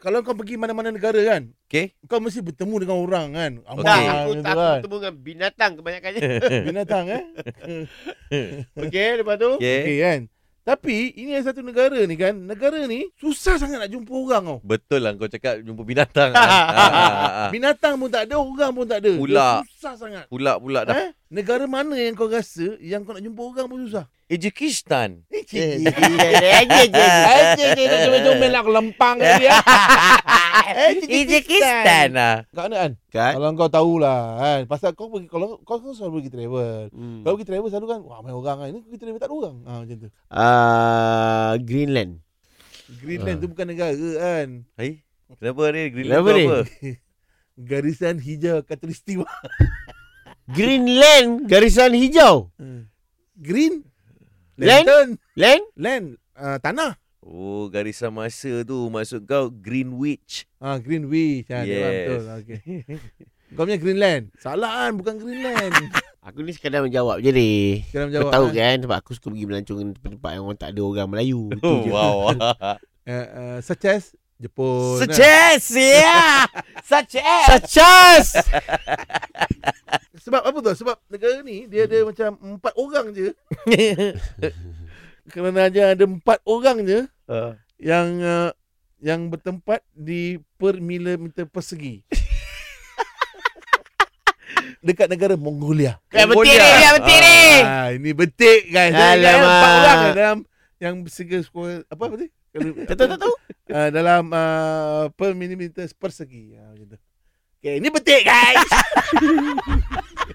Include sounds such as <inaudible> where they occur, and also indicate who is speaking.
Speaker 1: kalau kau pergi mana-mana negara kan,
Speaker 2: Okay.
Speaker 1: kau mesti bertemu dengan orang kan. Amal
Speaker 2: Okey. Tak,
Speaker 1: okay.
Speaker 3: aku
Speaker 1: gitu
Speaker 3: tak
Speaker 1: kan.
Speaker 3: bertemu dengan binatang kebanyakannya.
Speaker 1: Binatang eh.
Speaker 3: Okey, lepas tu.
Speaker 2: Okay.
Speaker 1: Okey kan. Tapi ini ada satu negara ni kan. Negara ni susah sangat nak jumpa orang tau.
Speaker 2: Betul lah kau cakap jumpa binatang. <laughs> kan? Ah, ah, ah.
Speaker 1: Binatang pun tak ada, orang pun tak ada. Dia
Speaker 2: Ular.
Speaker 1: Susah sangat.
Speaker 2: Pula pula dah.
Speaker 1: Eh? Negara mana yang kau rasa yang kau nak jumpa orang pun susah?
Speaker 2: Ejekistan.
Speaker 1: Eh,
Speaker 3: Eh,
Speaker 1: cik.
Speaker 3: aja je.
Speaker 1: Aje je nak comel-comel nak lempang tadi ah. Eh,
Speaker 2: Ejekistan lah.
Speaker 1: Kak Ana kan,
Speaker 3: Kat.
Speaker 1: kalau kau tahulah kan. Pasal kau pergi kalau kau, kau selalu pergi travel. Kalau pergi travel selalu kan, wah main orang kan. Ini pergi travel tak ada orang. Ha macam tu.
Speaker 3: Ah, Greenland.
Speaker 1: Greenland
Speaker 2: Ah.
Speaker 1: tu bukan negara kan.
Speaker 2: Hai. Eh? Kenapa ni? Greenland
Speaker 3: Kenapa
Speaker 2: tu
Speaker 3: ni?
Speaker 2: apa?
Speaker 1: Garisan hijau katulistiwa.
Speaker 3: Greenland garisan hijau.
Speaker 1: Green
Speaker 3: Land?
Speaker 1: Lantern.
Speaker 3: Land?
Speaker 1: Land uh, tanah.
Speaker 2: Oh, garisan masa tu maksud kau Greenwich.
Speaker 1: Ah Greenwich ah yes.
Speaker 2: Yes.
Speaker 1: betul. Okey. <laughs> Kau punya Greenland. Salah kan bukan Greenland.
Speaker 3: Aku ni sekadar menjawab je ni.
Speaker 1: Kena
Speaker 3: Kau
Speaker 1: menjawab. eh?
Speaker 3: tahu kan sebab aku suka pergi melancong ke tempat-tempat yang orang tak ada orang Melayu. Itu
Speaker 2: Oh,
Speaker 3: je.
Speaker 2: <laughs> wow.
Speaker 1: Uh, uh, such as Jepun.
Speaker 2: Success, <laughs> yeah. Success.
Speaker 3: Sachas.
Speaker 1: Sebab apa tu? Sebab negara ni dia ada macam empat orang <laughs> je. Kerana aja ada empat orang je yang uh, yang bertempat di per milimeter persegi. <laughs> Dekat negara Mongolia.
Speaker 3: Kan betik ni, kan betik ni.
Speaker 1: Ah, ini betik guys. Saya ingat
Speaker 3: Alamak.
Speaker 1: Empat orang kan dalam yang segi square apa apa ni? Kalau-
Speaker 3: Tak tahu tak tahu.
Speaker 1: Ah, dalam uh, Ah, per milimeter persegi. Ah, macam tu. Okay, ini betik guys.